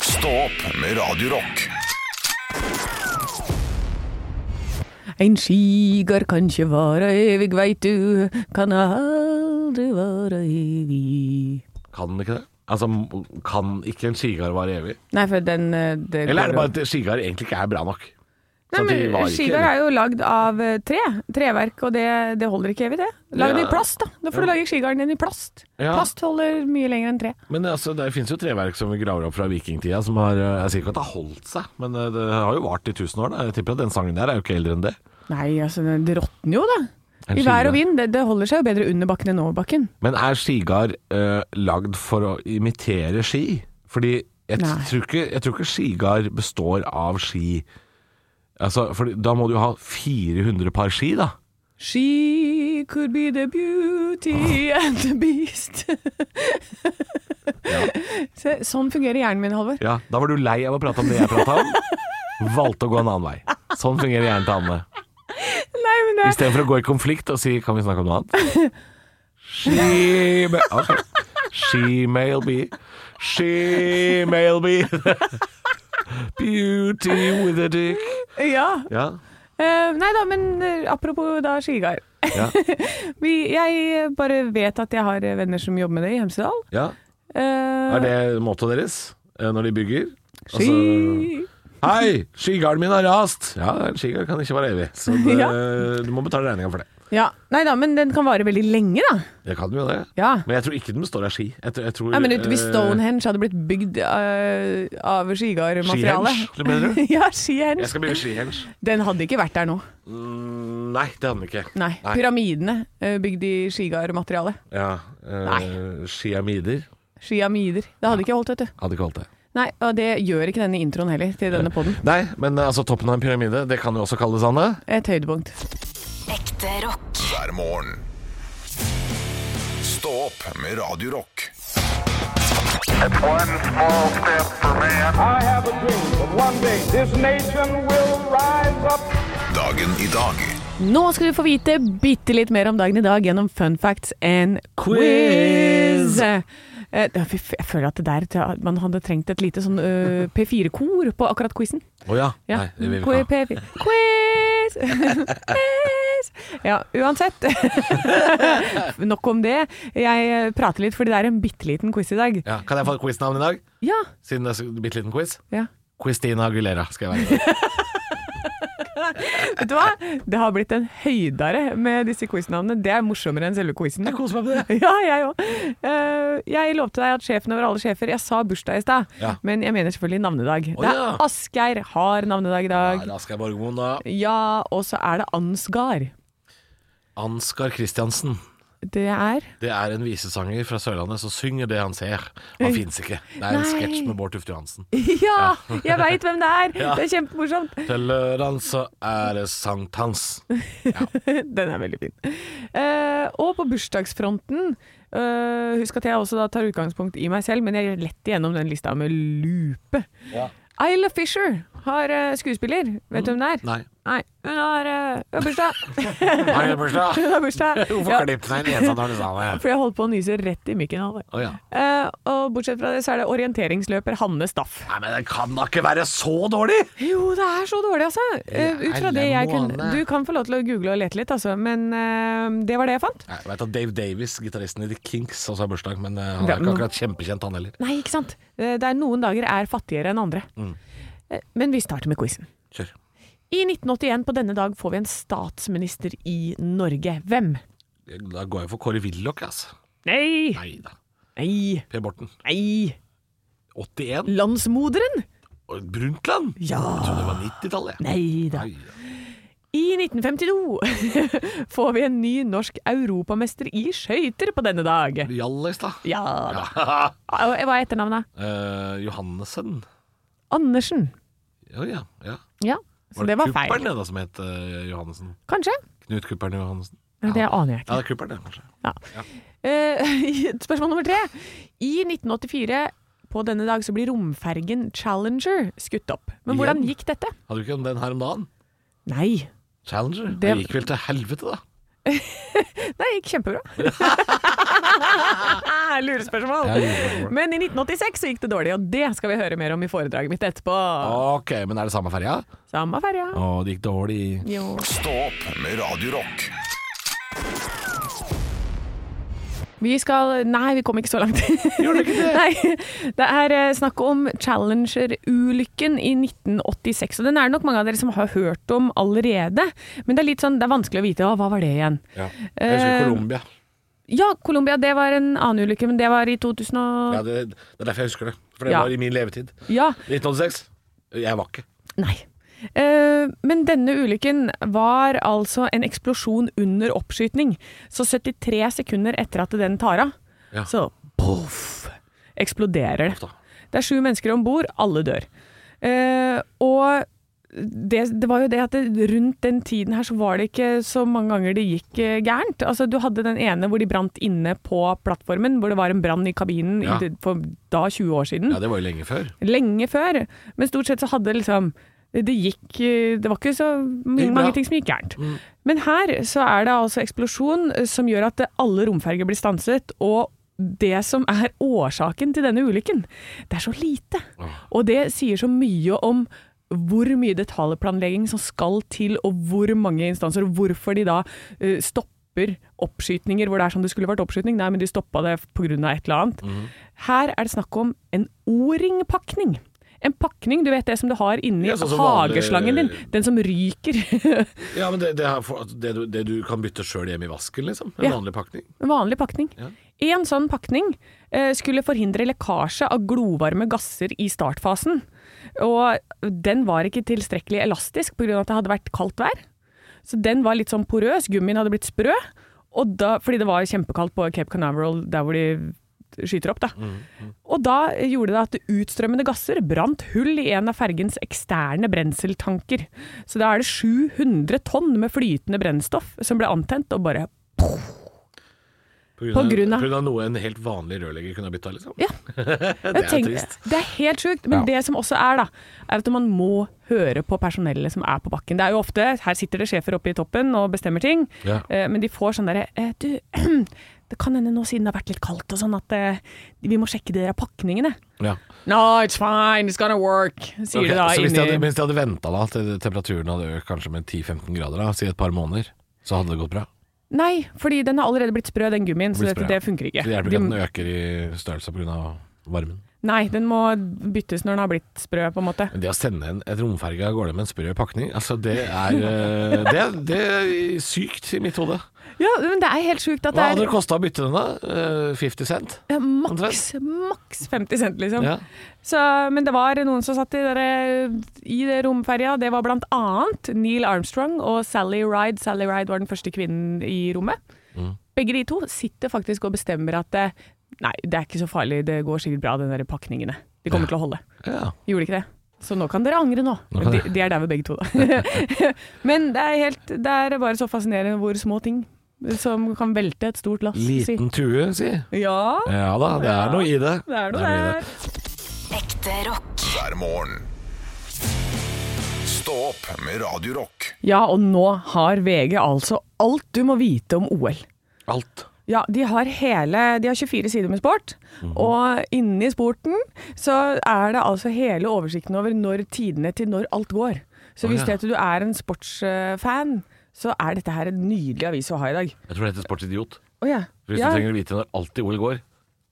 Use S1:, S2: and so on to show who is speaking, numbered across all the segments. S1: Stå opp med Radio Rock.
S2: Ein skigar kan ikke vara evig, veit du, kan aldri vara evig.
S3: Kan den ikke det? Altså, m- Kan ikke en skigard vare evig?
S2: Nei, for den eh, det
S3: Eller er det
S2: går jo-
S3: bare at skigard egentlig ikke er bra nok?
S2: Nei,
S3: Sånn at de
S2: men
S3: varer ikke,
S2: Skigard
S3: eller?
S2: er jo lagd av eh, tre. Treverk, og det, det holder ikke evig, det. Lag det
S3: Ja.
S2: i plast, da. Da får du lage skigarden din i plast.
S3: Ja.
S2: Plast holder mye lenger enn tre.
S3: Men altså, det finnes jo treverk som vi graver opp fra vikingtida, som har eh, Jeg sier ikke at det har holdt seg, men eh, det har jo vart i tusen år. Da. Jeg tipper at den sangen der er jo ikke eldre enn det.
S2: Nei, altså, det det råtner jo, da.
S3: En
S2: I vær
S3: skigard.
S2: og vind. Det, det holder seg jo bedre under bakken enn over bakken.
S3: Men er skigard eh, lagd for å imitere ski? Fordi jeg t-
S2: Nei.
S3: tror ikke, jeg tror ikke skigard består av ski. Altså, for da må du jo ha 400 par ski, da.
S2: She could be the beauty and the beast. Se, sånn fungerer hjernen min, Halvor.
S3: Ja, Da var du lei av å prate om det jeg prata om. Valgte å gå en annen vei. Sånn fungerer hjernen til Anne.
S2: Nei, men det
S3: Istedenfor å gå i konflikt og si 'kan vi snakke om noe annet'? She, ma- ok. She may be She may be Beauty with a dick.
S2: Ja.
S3: Ja.
S2: Eh, nei da, men eh, apropos da skigard.
S3: Ja.
S2: Vi- Jeg eh, bare vet at jeg har eh, venner som jobber med det i Hemsedal.
S3: ja.
S2: Eh,
S3: Er det mottoet deres eh, når de bygger? Altså-
S2: Ski...
S3: Hei, skigarden min har rast! Ja, en skigard kan ikke være evig, så det, du må betale regninga for det.
S2: Ja. Nei da, men den kan vare veldig lenge, da.
S3: Det kan jo det.
S2: Ja.
S3: Men jeg tror ikke den består av ski. Jeg tror, jeg tror,
S2: Nei, men ute
S3: eh,
S2: ved Stonehenge hadde blitt bygd eh, av skigardmateriale.
S3: Skihenge, det mener du?
S2: ja, skihenge.
S3: Jeg skal bygge skihenge.
S2: Den hadde ikke vært der nå.
S3: Mm, nei, det hadde den ikke.
S2: Nei. Pyramidene eh, bygd i skigardmateriale.
S3: Ja, eh,
S2: Nei.
S3: Skiamider
S2: Skiamider. Det hadde ikke holdt, vet du.
S3: hadde ikke holdt det.
S2: Nei, og det gjør ikke denne introen heller til denne poden.
S3: Nei, men eh, altså toppen av en pyramide, det kan jo også kalles Anne.
S2: Et høydepunkt.
S4: Ekte rock.
S1: hver morgen. Stå opp med Radio Rock.
S5: It's one small step for man.
S6: I have a dream that one day this nation will rise up.
S1: Dagen i dag
S2: Nå skal du få vite bitte litt mer om dagen i dag gjennom fun facts and quiz. Eh, det- fy f- Jeg føler at det der tror jeg man hadde trengt et lite sånn eh, P4-kor på akkurat quizen.
S3: Å ja.
S2: Ja.
S3: Nei, det vil vi
S2: Quiz,
S3: ikke ha.
S2: P4. Quiz! Quiz! Ja, uansett. Nok om det. Jeg prater litt, fordi det er en bitte liten quiz i dag.
S3: Ja, kan jeg få et quiznavn i dag?
S2: Ja.
S3: Siden det er en bitte liten quiz.
S2: ja.
S3: Christina Aguilera skal jeg være.
S2: Vet du hva? Det har blitt en høydare med disse quiznavnene. Det er morsommere enn selve quizen.
S3: koser meg med det.
S2: Ja, jeg òg. jeg lovte deg at sjefen over alle sjefer Jeg sa bursdag i stad,
S3: Ja.
S2: men jeg mener selvfølgelig navnedag.
S3: Å,
S2: Det er
S3: ja.
S2: Asgeir har navnedag i dag.
S3: Da skal jeg Borgermoen, da.
S2: Ja, og så er det Ansgar.
S3: Ansgar Christiansen.
S2: Det er
S3: Det er en visesanger fra Sørlandet som synger det han ser. Han fins ikke. Det er en
S2: Nei.
S3: sketsj med Bård Tufte Johansen.
S2: Ja! Jeg veit hvem det er! Det er kjempemorsomt.
S3: Til lørdag så er det sankthans.
S2: Den er veldig fin. Eh, og på bursdagsfronten eh, Husk at jeg også da tar utgangspunkt i meg selv, men jeg gjør lett igjennom den lista med lupe. Isla Fisher har eh, skuespiller. Vet du hvem det er?
S3: Nei.
S2: hun har eh, hun har bursdag.
S3: Har du bursdag?
S2: Hun har bursdag.
S3: Hvorfor
S2: Ja,
S3: klipp deg i nesa når du sa det?
S2: for jeg holdt på å nyse rett i mikken. Halvor.
S3: Å ja.
S2: Eh, og bortsett fra det, så er det orienteringsløper Hanne Staff.
S3: Nei, men det kan da ikke være så dårlig!
S2: Jo, det er så dårlig, altså. Eh, ut fra det jeg
S3: Helle
S2: kunne
S3: måne.
S2: Du kan få lov til å google og lete litt, altså. Men eh, det var det jeg fant.
S3: Jeg vet at Dave Davies, gitaristen i The Kinks, også har bursdag, men eh, han
S2: Ja,
S3: er ikke
S2: men-
S3: akkurat kjempekjent, han heller.
S2: Nei, ikke sant. Eh, Det er noen dager er fattigere enn andre. Eh, Men vi starter med quizen.
S3: Kjør.
S2: I 1981 på denne dag får vi en statsminister i Norge. Hvem?
S3: Da går jeg for Kåre Willoch, altså.
S2: Nei!
S3: Nei da.
S2: Nei!
S3: Per Borten.
S2: Nei.
S3: 81.
S2: Landsmoderen?
S3: Og Brundtland? Jeg
S2: Ja!
S3: trodde det var 90-tallet.
S2: Nei da.
S3: Nei,
S2: I 1952 får vi en ny norsk europamester i skøyter på denne dag.
S3: Hjallis, da.
S2: Ja da. Og Hva er etternavnet?
S3: Eh, Johannessen.
S2: Andersen.
S3: Å ja. ja.
S2: Ja, så det var
S3: Kuppern
S2: feil.
S3: det da som het eh, Johannessen?
S2: Kanskje?
S3: Knut Kuppern Johannessen.
S2: Ja, Det aner jeg ikke.
S3: Ja, det er Kuppern, det, kanskje.
S2: Eh, spørsmål nummer tre. I 1984 på denne dag så blir romfergen Challenger skutt opp. Men hvordan
S3: Igjen?
S2: gikk dette?
S3: Hadde du ikke den her om dagen?
S2: Nei.
S3: Challenger? Det
S2: Det-
S3: gikk vel til helvete, da.
S2: Det gikk kjempebra. Lurespørsmål.
S3: Ja, lurespørsmål.
S2: Men i 1986 så gikk det dårlig, og det skal vi høre mer om i foredraget mitt etterpå.
S3: Ok, men er det samme ferja?
S2: Samme ferja.
S3: Å, det gikk dårlig.
S2: Jo.
S1: Stå opp med Radio Rock.
S2: Vi skal Nei, vi kom ikke så langt.
S3: Gjorde ikke det?
S2: Nei. Det er eh, snakk om Challenger-ulykken i 1986. Og den er det nok mange av dere som har hørt om allerede. Men det er litt sånn, det er vanskelig å vite å, hva var det igjen.
S3: Ja. Jeg husker
S2: Eh,
S3: Colombia.
S2: Ja, Colombia, det var en annen ulykke, men det var i 2000 og
S3: Ja, det, det er derfor jeg husker det. For det
S2: Ja.
S3: var i min levetid.
S2: Ja.
S3: 1986. Jeg var ikke.
S2: Nei. Eh, Men denne ulykken var altså en eksplosjon under oppskytning. Så 73 sekunder etter at den tar av,
S3: Ja.
S2: så poff, eksploderer
S3: Uff da.
S2: det. Det er sju mennesker om bord, alle dør. Eh, og det, det var jo det at det, rundt den tiden her så var det ikke så mange ganger det gikk eh, gærent. Altså Du hadde den ene hvor de brant inne på plattformen, hvor det var en brann i kabinen i
S3: Ja.
S2: det- for da 20 år siden
S3: Ja, det var jo lenge før.
S2: lenge før. Men stort sett så hadde liksom det gikk eh, Det var ikke så
S3: Det gikk
S2: mange,
S3: bra.
S2: mange ting som gikk gærent.
S3: Mm.
S2: Men her så er det altså eksplosjon eh, som gjør at eh, alle romferger blir stanset. og det som er årsaken til denne ulykken, det er så lite.
S3: Ah.
S2: Og det sier så mye om hvor mye detaljplanlegging som skal til, og hvor mange instanser, og hvorfor de da eh, stopper oppskytninger hvor det er som det skulle vært oppskytning. Nei, men de stoppa det pga. et eller annet.
S3: Mm.
S2: Her er det snakk om en O-ring-pakning. En pakning, du vet det som du har inni
S3: Ja, sånn som
S2: hageslangen din.
S3: vanlig-
S2: Den som ryker.
S3: Ja, men det, det, er for- det, du- det du kan bytte sjøl hjemme i vasken, liksom. En
S2: Ja.
S3: vanlig pakning.
S2: En vanlig pakning. En sånn pakning eh, skulle forhindre lekkasje av glovarme gasser i startfasen. Og den var ikke tilstrekkelig elastisk pga. at det hadde vært kaldt vær. Så den var litt sånn porøs, gummien hadde blitt sprø. Og da, fordi det var kjempekaldt på Cape Canaveral, der hvor de skyter opp, da. Og da gjorde det at utstrømmende gasser brant hull i en av fergens eksterne brenseltanker. Så da er det 700 tonn med flytende brennstoff som ble antent og bare På grunn av-
S3: på grunn av noe en helt vanlig rørlegger kunne ha bytta, liksom.
S2: Ja.
S3: det er
S2: Tenk-
S3: trist.
S2: Det er helt sjukt. Men det som også er, da, er at man må høre på personellet som er på bakken. Det er jo ofte Her sitter det sjefer oppe i toppen og bestemmer ting,
S3: Ja.
S2: eh, men de får sånn derre eh, Du, det kan hende nå siden det har vært litt kaldt og sånn at eh, vi må sjekke de der pakningene.
S3: Ja.
S2: No, it's fine, it's gonna work, sier
S3: Ok,
S2: de da
S3: så hvis de hadde,
S2: inni
S3: hvis de hadde venta da til temperaturen hadde økt kanskje med 10-15 grader, da, si et par måneder, så hadde det gått bra?
S2: Nei, fordi den har allerede blitt sprø, den gummien, så dette,
S3: Blitt sprø, ja.
S2: det funker ikke.
S3: Det hjelper
S2: De-
S3: ikke at den øker i størrelse pga. varmen.
S2: nei, den må byttes når den har blitt sprø, på en måte.
S3: Men det å sende en, et romferge av gårde med en sprø pakning, altså det er eh, det, er- det er sykt i mitt hode.
S2: Ja, men det er helt sjukt at det
S3: Hva
S2: er
S3: hadde det kosta å bytte den, da? Eh, 50 cent?
S2: Ja, Maks, maks 50 cent, liksom.
S3: Ja.
S2: Så, men det var noen som satt i, der, i det romferja. Det var blant annet Neil Armstrong og Sally Ride. Sally Ride var den første kvinnen i rommet.
S3: Mm.
S2: Begge de to sitter faktisk og bestemmer at eh, nei, det er ikke så farlig, det går sikkert bra, den der pakningene. De kommer til å holde.
S3: Ja.
S2: Gjorde ikke det. Så nå kan dere angre nå.
S3: Nå kan
S2: De,
S3: dere-
S2: de er der ved begge to, da. men det er, helt, det er bare så fascinerende hvor små ting som kan velte et stort lass. si.
S3: Liten tue, si.
S2: Ja,
S3: Ja da, det er noe i det.
S2: det er noe
S3: i
S2: der.
S3: det.
S4: Ekte rock.
S1: hver morgen. Stå opp med Radio Rock.
S2: Ja, og nå har VG altså alt du må vite om OL.
S3: Alt.
S2: Ja, de har hele De har 24 sider med sport,
S3: Mhm.
S2: og inni sporten så er det altså hele oversikten over når tidene til når alt går. Så
S3: Å,
S2: hvis
S3: ja.
S2: det at du er en sportsfan, så er dette her en nydelig avis å ha i dag.
S3: Jeg tror det heter sportsidiot.
S2: Å ja.
S3: For Hvis
S2: ja.
S3: du trenger å vite når alt i OL går,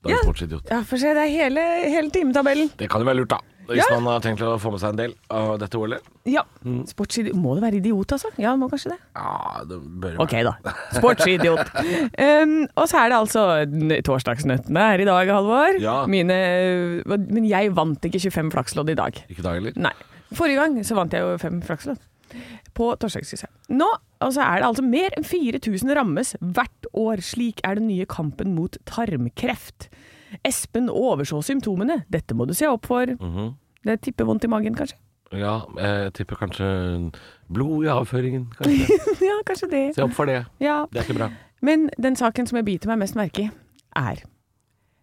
S3: da er
S2: Ja.
S3: du sportsidiot.
S2: ja, for se, det er hele, hele timetabellen.
S3: Det kan jo være lurt, da. Hvis
S2: Ja.
S3: man har tenkt å få med seg en del av dette OL-et.
S2: Ja.
S3: Mhm.
S2: Sportsidiot Må det være idiot, altså? Ja, må kanskje det.
S3: Ja, det bør jo
S2: Ok, da. Sportsidiot. Um, og så er det altså n- torsdagsnøttene her i dag, Halvor.
S3: Ja.
S2: Mine, men jeg vant ikke 25 flakslodd i dag.
S3: Ikke dag heller.
S2: Nei. Forrige gang så vant jeg jo 5 flakslodd. På torsdagskrysset. Nå og så er det altså mer enn 4000 rammes hvert år. Slik er den nye kampen mot tarmkreft. Espen overså symptomene. Dette må du se opp for. Det tipper vondt i magen, kanskje.
S3: Ja, jeg tipper kanskje blod i avføringen. Kanskje.
S2: ja, kanskje det.
S3: Se opp for det.
S2: Ja.
S3: Det er ikke bra.
S2: Men den saken som jeg biter meg mest merke i, er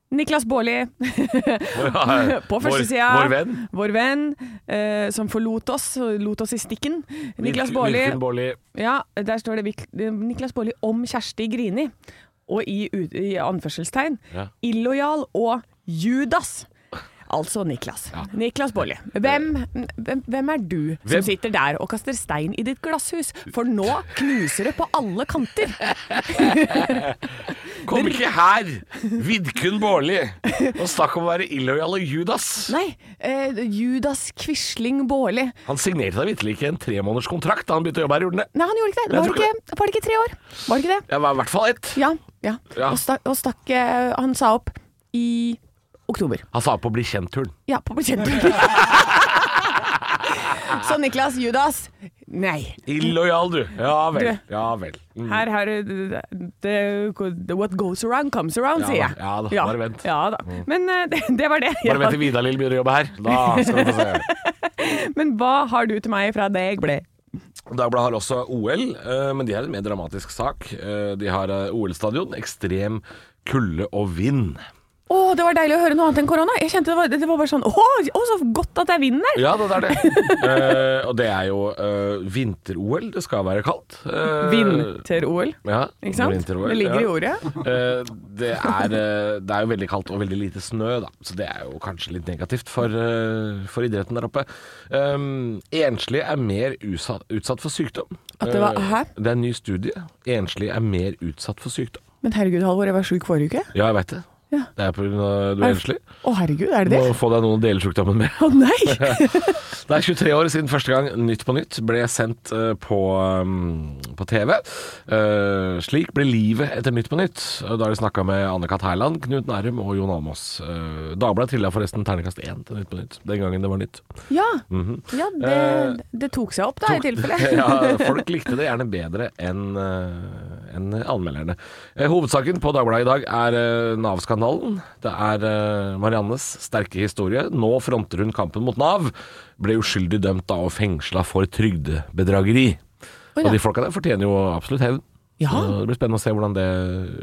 S2: Niklas Baarli på
S3: Vår-
S2: første sida.
S3: Vår venn.
S2: Vår venn, eh, som forlot oss, og lot oss i stikken. Niklas
S3: Wilkin-
S2: Baarli
S3: Wilkin Baarli.
S2: Ja, der står det Vik- Niklas Baarli om Kjersti Grini. Og i, ut- i anførselstegn
S3: Ja.
S2: illojal og Judas. Altså Niklas. Niklas Baarli. Hvem, hvem, hvem er du som
S3: Hvem-
S2: sitter der og kaster stein i ditt glasshus? For nå knuser det på alle kanter!
S3: Kom ikke her, Vidkun Baarli, og snakk om å være illojal og Judas.
S2: Nei, eh, Judas Quisling Baarli.
S3: Han signerte da vitterlig ikke en tremånederskontrakt da han begynte å jobbe her, gjorde han det?
S2: Nei, han gjorde ikke det.
S3: Jeg
S2: Var
S3: tror
S2: det ikke, var det ikke tre år? Var det ikke det?
S3: Det var i hvert fall ett.
S2: Ja. ja.
S3: Ja.
S2: Og, stakk, og stakk eh, Han sa opp i oktober.
S3: Han sa på bli kjent-turen.
S2: Ja, på bekjentelse. Så Niklas Judas Nei.
S3: Illojal, du. Ja vel.
S2: Du.
S3: Ja vel. Mm.
S2: Her har du det- What goes around comes around,
S3: Ja
S2: sier
S3: da,
S2: jeg.
S3: ja da, bare vent. Mm.
S2: Ja da. Men eh, det, det var det.
S3: Bare vent til Vidar-Lill begynner å jobbe her. Da skal du få se.
S2: Men hva har du til meg fra det jeg ble?
S3: Dagbladet har også OL, eh, men de har en mer dramatisk sak. Eh, De har eh, OL-stadion, ekstrem kulde og vind.
S2: Å, det var deilig å høre noe annet enn korona. Jeg kjente det var, det var bare sånn Å, å, så godt at det er vind der!
S3: Ja, det er det. Eh, og det er jo eh, vinter-OL. Det skal være kaldt. Eh,
S2: Vinter-OL,
S3: Ja,
S2: ikke sant?
S3: vinter-OL,
S2: Det ligger
S3: ja.
S2: i ordet.
S3: Eh, det, er, eh, det er jo veldig kaldt og veldig lite snø, da. Så det er jo kanskje litt negativt for, eh, for idretten der oppe. Um, enslige er mer usa- utsatt for sykdom.
S2: At det var-
S3: Eh,
S2: hæ?
S3: det er en ny studie. Enslige er mer utsatt for sykdom.
S2: Men herregud, Halvor, jeg var sjuk forrige uke.
S3: Ja, jeg veit det.
S2: Ja.
S3: Det er pga. du er enslig.
S2: Å, herregud, er det
S3: Må
S2: det?
S3: få deg noen å dele sjukdommen med.
S2: Å nei!
S3: Det er 23 år siden første gang Nytt på nytt ble sendt eh, på, eh, på TV. Eh, slik ble livet etter Nytt på nytt. Og Da har de snakka med Anne-Kat. Hærland, Knut Nærum og Jon Almaas. Eh, Dagbladet trilla forresten terningkast én til Nytt på nytt den gangen det var nytt.
S2: Ja, ja det, det tok seg opp da, i tilfelle.
S3: Mhm. Eh, ja, folk likte det gjerne bedre enn eh, enn anmelderne. Eh, Hovedsaken på Dagbladet i dag er eh, Nav-skandalen. Det er eh, Mariannes sterke historie. Nå fronter hun kampen mot Nav. Ble uskyldig dømt da og fengsla for trygdebedrageri.
S2: Oi
S3: Og
S2: da.
S3: de folka der fortjener jo absolutt hevn.
S2: Ja.
S3: Så Det blir spennende å se hvordan det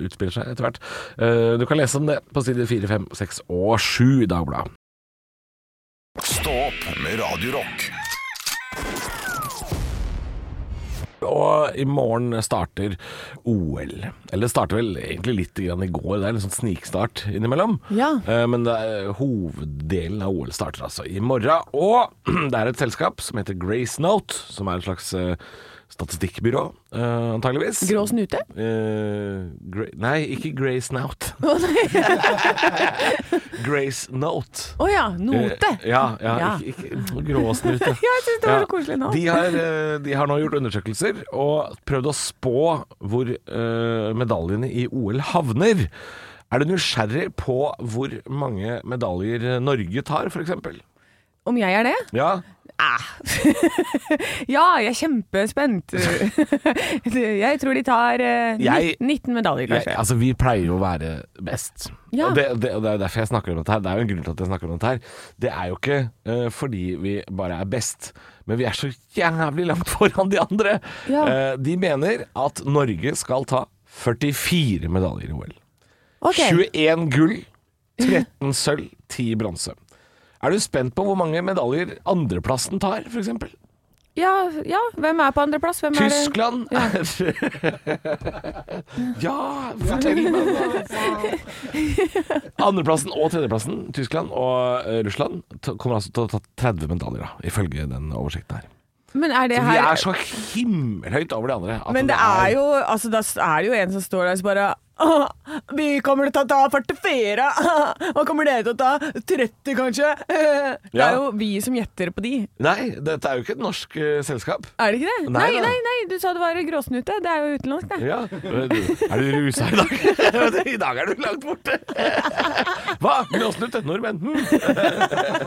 S3: utspiller seg etter hvert. Eh, Du kan lese om det på side 4, 5, 6 og 7 i Dagbladet.
S1: Stå opp med Radio Rock.
S3: Og i morgen starter OL. Eller det starter vel egentlig litt grann i går, det er en sånn snikstart innimellom.
S2: Ja.
S3: Eh, Men det er, hoveddelen av OL starter altså i morgen. Og det er et selskap som heter Grace Note, som er et slags eh, statistikkbyrå, eh, antageligvis.
S2: Grå snute?
S3: Eh, Gra nei, ikke Grace Note.
S2: Å nei.
S3: Grace Note.
S2: Å ja, note.
S3: Eh, Ja, ja,
S2: Ja.
S3: Ikke, ikke gråsnute.
S2: Ja, jeg synes det var så koselig nå.
S3: De har, eh, de har nå gjort undersøkelser og prøvd å spå hvor eh, medaljene i OL havner. Er du nysgjerrig på hvor mange medaljer Norge tar, f.eks.?
S2: Om jeg er det? Ah.
S3: Ja,
S2: Ja, jeg er kjempespent. jeg tror de tar eh,
S3: Jeg-
S2: 19, 19 medaljer,
S3: jeg,
S2: kanskje.
S3: altså vi pleier jo å være best.
S2: Ja.
S3: Og det, det, og det er jo derfor jeg snakker om dette her. Det er jo en grunn til at jeg snakker om dette her. Det er jo ikke eh, fordi vi bare er best, men vi er så jævlig langt foran de andre.
S2: Ja.
S3: Eh, de mener at Norge skal ta 44 medaljer i OL.
S2: Ok.
S3: 21 gull, 13 sølv, 10 bronse. Er du spent på hvor mange medaljer andreplassen tar, f.eks.?
S2: Ja, ja, hvem er på andreplass? Hvem er det?
S3: Tyskland er Ja, fortell meg hva- Andreplassen og tredjeplassen, Tyskland og eh, Russland, t- kommer altså til å ta 30 medaljer, da, ifølge den oversikten her.
S2: Men er det
S3: Vi
S2: her
S3: er så himmelhøyt over de andre. at
S2: Men det er jo Altså, da er det jo en som står der og bare «Åh, Vi kommer til å ta 44! Hva kommer dere til å ta? 30, kanskje? Det
S3: Ja.
S2: er jo vi som gjetter på de.
S3: Nei, dette er jo ikke et norsk eh, selskap.
S2: Er det ikke det?
S3: Nei
S2: Nei,
S3: da.
S2: nei, nei, du sa det var gråsnute. Det er jo utenlandsk, det.
S3: Ja. Er du rusa i dag? I dag er du langt borte. Hva? Gråsnutt? Nordmenn? Hm.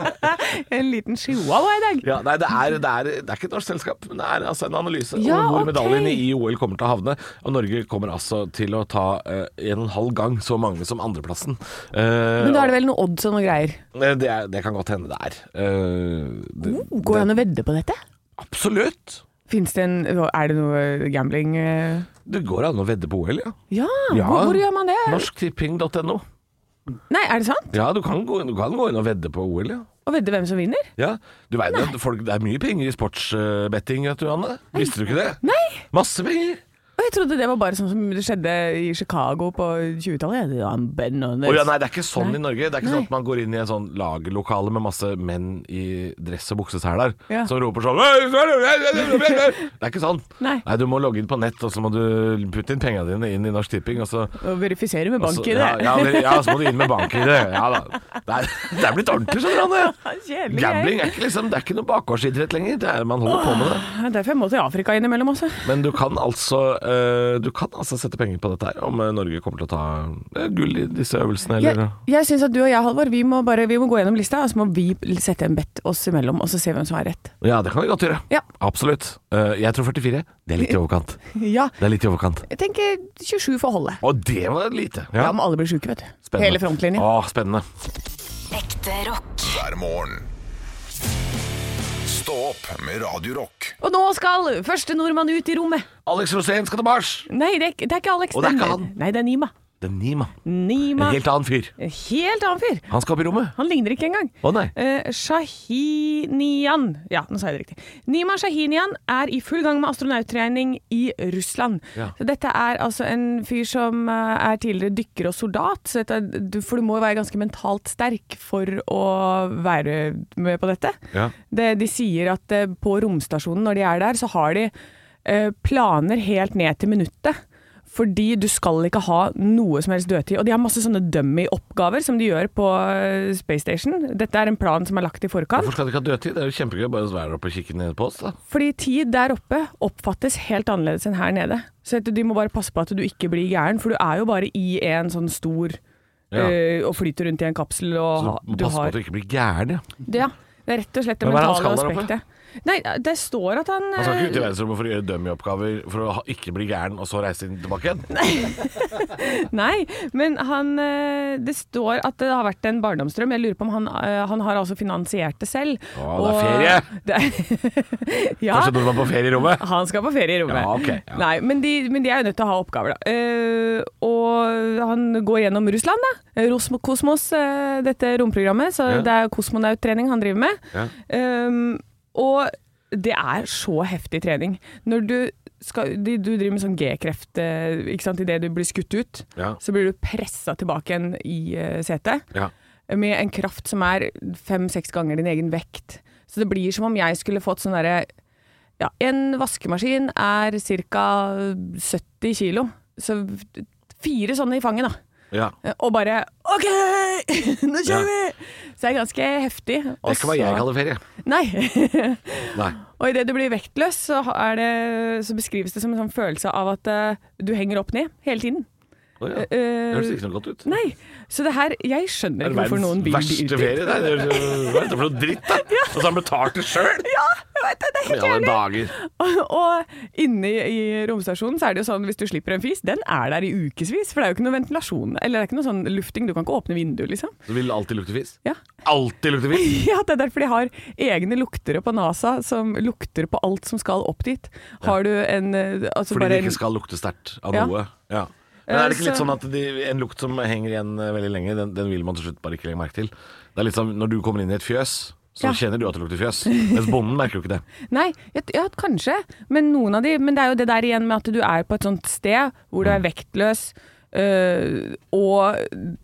S2: En liten chihuahua i dag.
S3: Ja, nei, det er, det, er, det er ikke et norsk selskap, men det er altså en analyse
S2: Ja,
S3: om hvor
S2: ok.
S3: medaljene i OL kommer til å havne. Og Norge kommer altså til å ta eh, en og en halv gang så mange som andreplassen. Eh,
S2: Men da er det vel noe odds og noe greier.
S3: eh, det, er- det kan godt hende det er. Eh, det,
S2: Går Uh, det an å vedde på dette?
S3: absolutt!
S2: Finnes det en Er det noe gambling eh?
S3: Det går an å vedde på OL, ja.
S2: Ja,
S3: Ja.
S2: Hvor, hvor gjør man det?
S3: Norsktipping.no.
S2: Nei, er det sant?
S3: Ja, du kan gå, du kan gå inn og vedde på OL, ja.
S2: Å vedde hvem som vinner?
S3: Ja, du vet at folk, Det er mye penger i sportsbetting, vet du, Anne. Visste du ikke det?
S2: Nei.
S3: Masse penger!
S2: Og jeg trodde det var bare sånn som det skjedde i Chicago på 20-tallet. Ja, Ben og
S3: Å ja, nei, det er ikke sånn i Norge. Det er ikke
S2: Nei.
S3: sånn at man går inn i et sånn lagerlokale med masse menn i dress og bukseseler
S2: Ja.
S3: som roper sånn Det er ikke sånn.
S2: Nei.
S3: du må logge inn på nett, og så må du putte inn pengene dine inn i Norsk Tipping, og så
S2: Å verifisere med
S3: og så-
S2: bank i det.
S3: Altså, Ja, ja, vel, ja, så må du inn med bank i det. Ja da. Det er, det er blitt ordentlig, skjønner du. Anne.
S2: Kjedelig
S3: Gambling
S2: greier.
S3: er ikke, liksom, det er ikke noe bakgårdsidrett lenger. Det er, man holder på med det.
S2: Det er Derfor jeg må til Afrika innimellom også.
S3: Men du kan altså eh, Du kan altså sette penger på dette her, om eh, Norge kommer til å ta eh, gull i disse øvelsene, eller
S2: Jeg, jeg syns at du og jeg, Halvor, vi må, bare, vi må gå gjennom lista, og så må vi sette en bet oss imellom, og så se hvem som har rett.
S3: Ja, det kan vi godt gjøre.
S2: Ja.
S3: Absolutt. Eh, jeg tror 44. Det er litt i overkant.
S2: Ja.
S3: Det er litt i overkant.
S2: Jeg tenker 27 for holdet.
S3: Og det var lite.
S2: Da må alle bli sjuke, vet du.
S3: Spennende.
S2: Hele frontlinja.
S3: Å, spennende.
S4: Ekte rock.
S1: hver morgen. Stå opp med Radio Rock.
S2: Og nå skal første nordmann ut i rommet.
S3: Alex Rosén skal til Mars.
S2: Nei, det er, ikke- det er ikke Alex.
S3: Og det er
S2: den-
S3: ikke han.
S2: Nei, det er Nima.
S3: Det er Nima. En
S2: Nima.
S3: helt annen fyr.
S2: En helt annen fyr.
S3: Han skal opp i rommet.
S2: Han ligner ikke engang.
S3: Å nei.
S2: Eh, Shahinian Ja, nå sa jeg det riktig. Nima Shahinian er i full gang med astronauttrening i Russland.
S3: Ja.
S2: Så dette er altså en fyr som eh, er tidligere dykker og soldat, så dette, er- du, for du må jo være ganske mentalt sterk for å være med på dette.
S3: Ja.
S2: Det, de sier at eh, på romstasjonen når de er der, så har de eh, planer helt ned til minuttet. Fordi du skal ikke ha noe som helst dødtid. Og de har masse sånne dummy-oppgaver som de gjør på eh, Space Station. Dette er en plan som er lagt i forkant.
S3: Hvorfor skal de ikke ha dødtid? Det er jo kjempegøy å bare å være oppe og kikke ned på oss, da.
S2: Fordi tid der oppe oppfattes helt annerledes enn her nede. Så at de må bare passe på at du ikke blir gæren, for du er jo bare i en sånn stor
S3: Ja.
S2: eh, Og flyter rundt i en kapsel, og
S3: Så
S2: ha-
S3: du må
S2: du
S3: passe på
S2: har
S3: at du ikke blir gæren, ja.
S2: Det, ja. det er rett og slett det
S3: Men hva er det han
S2: mentale
S3: skal der oppe?
S2: aspektet. Nei, det står at han
S3: Han skal ikke ut
S2: eh,
S3: i verdensrommet for å gjøre dummy-oppgaver for å ha- ikke bli gæren, og så reise inn tilbake igjen.
S2: Nei, men han eh, Det står at det har vært en barndomsdrøm. Jeg lurer på om han, eh, han har altså finansiert det selv.
S3: Å, det
S2: er ferie! ja.
S3: Kanskje nordmann på ferie i rommet?
S2: Han skal på ferie i rommet.
S3: Ja, ok, ja.
S2: Nei, men de, men de er jo nødt til å ha oppgaver, da. Eh, og han går gjennom Russland, da. Rosmo- Kosmos, eh, dette romprogrammet. Så
S3: Ja.
S2: det er kosmonauttrening han driver med.
S3: Ja.
S2: Um, og det er så heftig trening. Når du skal, de, du driver med sånn G-kreft eh, ikke sant, idet du blir skutt ut.
S3: Ja.
S2: Så blir du pressa tilbake igjen i eh, setet
S3: Ja.
S2: med en kraft som er fem-seks ganger din egen vekt. Så det blir som om jeg skulle fått sånn derre ja, En vaskemaskin er ca. 70 kilo. Så fire sånne i fanget, da.
S3: ja.
S2: Og bare OK, nå kjører vi! Så det er ganske heftig.
S3: Det er ikke hva jeg kaller ferie.
S2: Nei.
S3: Nei.
S2: Og idet du blir vektløs, så, er det, så beskrives det som en sånn følelse av at eh, du henger opp ned hele tiden.
S3: Å, ja. Det høres
S2: Eh,
S3: ikke noe godt ut.
S2: nei, så det her Jeg skjønner
S3: Det er
S2: ikke hvorfor noen
S3: verdens
S2: vil de ut dit.
S3: verste ferie. Nei, det er hva er dette for noe dritt, da? Og så har han betalt det sjøl!
S2: Ja, jeg vet det, det er
S3: I
S2: helt
S3: alle
S2: jævlig.
S3: dager.
S2: Og inne i, i romstasjonen så er det jo sånn hvis du slipper en fis, den er der i ukevis. For det er jo ikke noe ventilasjon, eller det er ikke noe sånn lufting. Du kan ikke åpne vinduet, liksom.
S3: Så vil det alltid lukte fis.
S2: Ja.
S3: Alltid lukte fis!
S2: Ja, det er derfor de har egne luktere på NASA som lukter på alt som skal opp dit. Har du en eh, altså
S3: Fordi
S2: bare
S3: det
S2: en,
S3: ikke skal lukte sterkt av
S2: Ja.
S3: noe. Ja. Men er
S2: Eh,
S3: det ikke litt
S2: så-
S3: sånn at de, en lukt som henger igjen eh, veldig lenge, den, den vil man til slutt bare ikke legge merke til? Det er litt som når du kommer inn i et fjøs, så
S2: Ja.
S3: kjenner du at det lukter fjøs. Mens bonden merker jo ikke det.
S2: Nei, ja, ja, kanskje. Men noen av de Men det er jo det der igjen med at du er på et sånt sted hvor du er
S3: Mm.
S2: vektløs. øh, og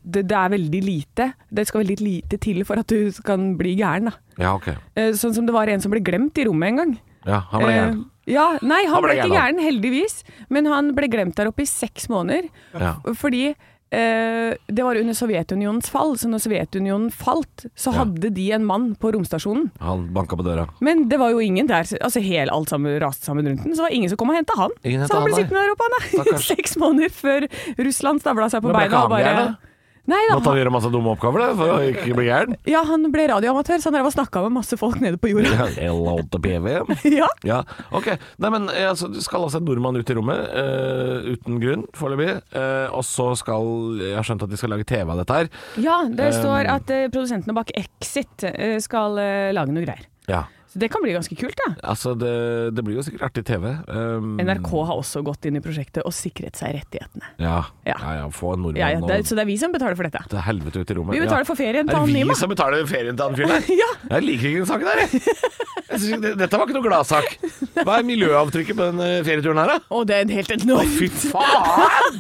S2: det, det er veldig lite. Det skal veldig lite til for at du kan bli gæren. Da.
S3: Ja, ok.
S2: Eh, sånn som det var en som ble glemt i rommet en gang.
S3: Ja, han ble gæren.
S2: Eh, ja, nei, han,
S3: Han ble
S2: ble, ikke
S3: gæren,
S2: gæren, heldigvis. Men han ble glemt der oppe i seks måneder.
S3: Ja.
S2: F- Fordi eh, det var under Sovjetunionens fall, så når Sovjetunionen falt, så
S3: Ja.
S2: hadde de en mann på romstasjonen.
S3: Han banka på døra.
S2: Men det var jo ingen der, altså helt alt sammen raste sammen rundt den, så det var ingen som kom og henta han.
S3: Ingen hentet
S2: så han
S3: han,
S2: ble
S3: nei.
S2: sittende der oppe, han da.
S3: Stakkars.
S2: Seks måneder før Russland stabla seg på
S3: Men ble
S2: beina
S3: ikke
S2: og
S3: han
S2: bare
S3: gæren, da?
S2: Nei da.
S3: Måtte han gjøre masse dumme oppgaver da, for å ikke bli gæren?
S2: Ja, han ble radioamatør, så han drev og snakka med masse folk nede på jorda.
S3: Hello to PV.
S2: Ja.
S3: Ja, ok. Nei, men eh, altså, det skal altså en nordmann ut i rommet, eh, uten grunn, foreløpig. eh, og så skal Jeg har skjønt at de skal lage TV av dette her.
S2: ja, det
S3: Um,
S2: står at eh, produsentene bak Exit eh, skal eh, lage noe greier.
S3: Ja.
S2: Så det kan bli ganske kult, da.
S3: Altså, det, det blir jo sikkert artig TV. Um,
S2: NRK har også gått inn i prosjektet og sikret seg rettighetene.
S3: Ja,
S2: Ja.
S3: ja, ja få en nordmann
S2: Ja, ja, det er,
S3: og
S2: så det er vi som betaler for dette.
S3: til helvete ut i rommet.
S2: Vi betaler for ferien til han
S3: Er det
S2: Nima?
S3: vi som betaler ferien til han fyren der?
S2: Ja.
S3: Jeg liker ikke den saken her, jeg. jeg synes, ikke- dette var ikke noe gladsak. Hva er miljøavtrykket på den eh, ferieturen her, da?
S2: Og det er en helt enorm
S3: Fy faen!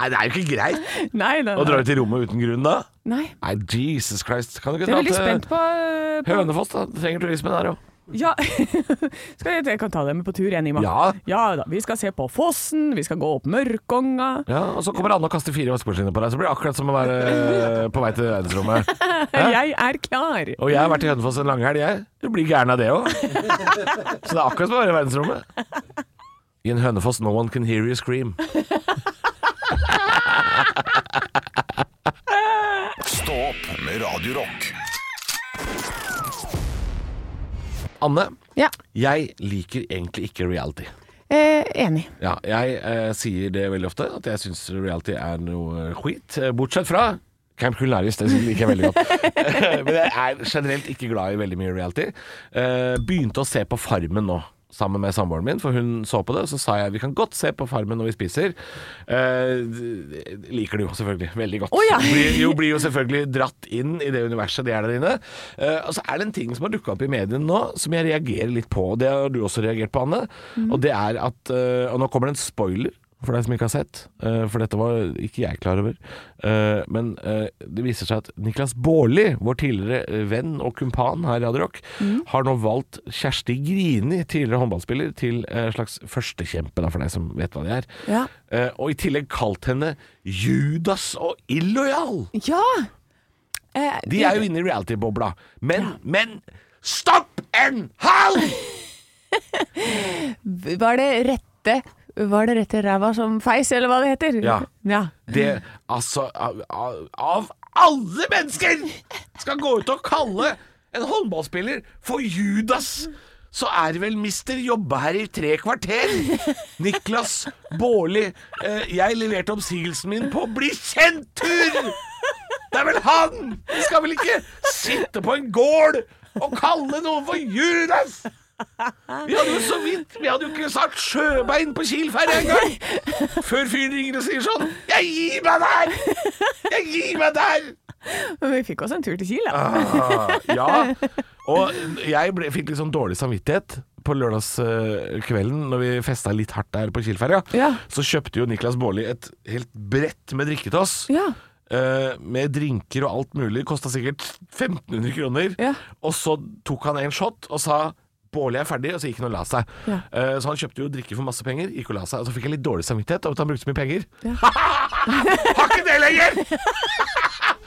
S3: Nei, det er jo ikke greit
S2: Nei, nei,
S3: å dra
S2: nei.
S3: ut i rommet uten grunn, da.
S2: nei.
S3: Nei, Jesus Christ. Kan du ikke
S2: Jeg er
S3: dra
S2: veldig spent på, eh, på
S3: Hønefoss, da. Du trenger turisme der òg.
S2: Ja, skal jeg, jeg kan ta dem med på tur igjen, Nima.
S3: Ja.
S2: da. Vi skal se på fossen, vi skal gå opp Mørkonga.
S3: Ja, og så kommer Anne og kaster fire vaskemaskiner på deg, så blir det akkurat som å være eh, på vei til verdensrommet.
S2: Jeg er klar!
S3: Og jeg har vært i Hønefoss en langhelg, jeg. Du blir gæren av det òg. Så det er akkurat som å være i verdensrommet. I en Hønefoss no one can hear you scream.
S1: Stå opp med Radio Rock.
S3: Anne,
S2: Ja,
S3: jeg liker egentlig ikke reality.
S2: eh, enig.
S3: Ja, jeg eh, sier det veldig ofte, at jeg syns reality er noe skit. eh, Bortsett fra Camp Culinaris, det liker jeg veldig godt. Eh, Men jeg er generelt ikke glad i veldig mye reality. Eh, begynte å se på Farmen nå. Sammen med samboeren min, for hun så på det. Og så sa jeg vi kan godt se på Farmen når vi spiser. Eh, d- d- liker det jo selvfølgelig veldig godt.
S2: Å, ja.
S3: blir, jo, blir jo selvfølgelig dratt inn i det universet de er der inne. Eh, og så er det en ting som har dukka opp i mediene nå, som jeg reagerer litt på. og Det har du også reagert på, Anne. Og det er at eh, Og nå kommer det en spoiler for deg som ikke har sett, eh, for dette var ikke jeg klar over. Eh, men eh, det viser seg at Niklas Baarli, vår tidligere eh, venn og kumpan her i Radio Rock, har nå valgt Kjersti Grini, tidligere håndballspiller, til en slags førstekjempe, da, for deg som vet hva det er.
S2: Ja.
S3: Eh, og i tillegg kalt henne Judas og illojal!
S2: Ja! Eh,
S3: De er jo inne i reality-bobla. Men, men Stopp en hal!
S2: Var det rette Var det rette ræva som feis, eller hva det heter?
S3: Ja.
S2: ja.
S3: Det altså av, av, av alle mennesker skal gå ut og kalle en håndballspiller for Judas! Så er det vel mister jobba her i tre kvarter. Niklas Baarli, eh, jeg leverte oppsigelsen min på bli kjent-tur! Det er vel han! Vi skal vel ikke sitte på en gård og kalle noen for Judas! Vi hadde jo så vidt Vi hadde jo ikke sagt sjøbein på Kiel ferje engang! Før fyren ringer og sier sånn Jeg gir meg der! Jeg gir meg der!
S2: Men vi fikk oss en tur til Kiel, da.
S3: Ah, ja. Og jeg ble, fikk litt sånn dårlig samvittighet på lørdagskvelden når vi festa litt hardt der på Kielferja.
S2: Ja.
S3: Så kjøpte jo Niklas Baarli et helt brett med drikke til oss.
S2: Ja.
S3: Eh, med drinker og alt mulig. Kosta sikkert 1500 kroner.
S2: Ja.
S3: Og så tok han en shot og sa Bårli er ferdig, og så gikk han og la seg.
S2: Ja.
S3: Eh, så han kjøpte jo drikke for masse penger, gikk og la seg. Og så fikk jeg litt dårlig samvittighet over at han brukte så mye penger. Har ikke det lenger!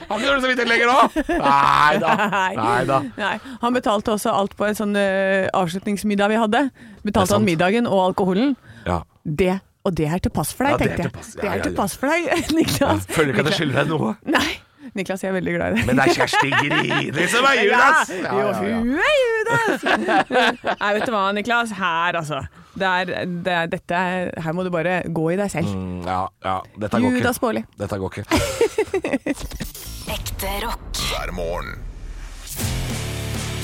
S3: Har ikke dårlig samvittighet lenger nå! Nei da. Nei da.
S2: Nei. Han betalte også alt på en sånn eh, avslutningsmiddag vi hadde.
S3: er
S2: Betalte
S3: sant.
S2: han middagen og alkoholen.
S3: Ja.
S2: Det, og det er til pass for deg,
S3: Ja, det
S2: tenkte
S3: er til
S2: jeg.
S3: pass. Ja,
S2: det
S3: ja,
S2: er til
S3: ja.
S2: pass for deg, Niklas.
S3: Føler ikke at jeg skylder deg noe.
S2: Nei. Niklas, jeg er veldig glad i deg.
S3: Men det er Kjersti Grini som er Judas!
S2: Ja, jo, hun er Judas! Nei, vet du hva, Niklas. Her, altså. Det er, det er, dette er, her må du bare gå i deg selv.
S3: Mm, ja, ja. Dette går
S2: Judas
S3: ikke.
S2: Baarli.
S3: Dette går ikke.
S4: Ekte rock.
S1: hver morgen.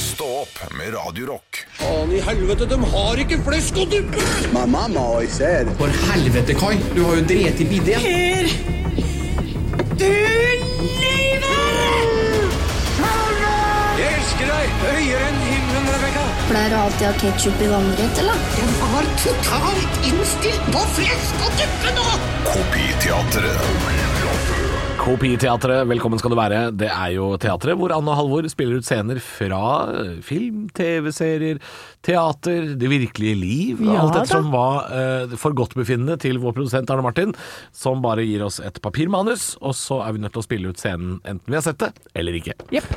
S1: Stå opp med Radio Rock.
S7: Faen i helvete, de har ikke flesk og duppe!
S8: My mom always said,
S7: For helvete, Kai. Du har jo drept i bidé. Jeg elsker deg høyere enn himmelen, Rebekka.
S9: Pleier du alltid å ha ketsjup i vannrett, eller?
S1: Kopiteatret.
S3: Kopiteatret, velkommen skal du være. Det er jo teatret hvor Anne og Halvor spiller ut scener fra film, TV-serier, teater, det virkelige liv.
S2: Ja
S3: alt
S2: da.
S3: etter som var eh, for godtbefinnende til vår produsent Arne Martin, som bare gir oss et papirmanus, og så er vi nødt til å spille ut scenen enten vi har sett det, eller ikke.
S2: Jepp.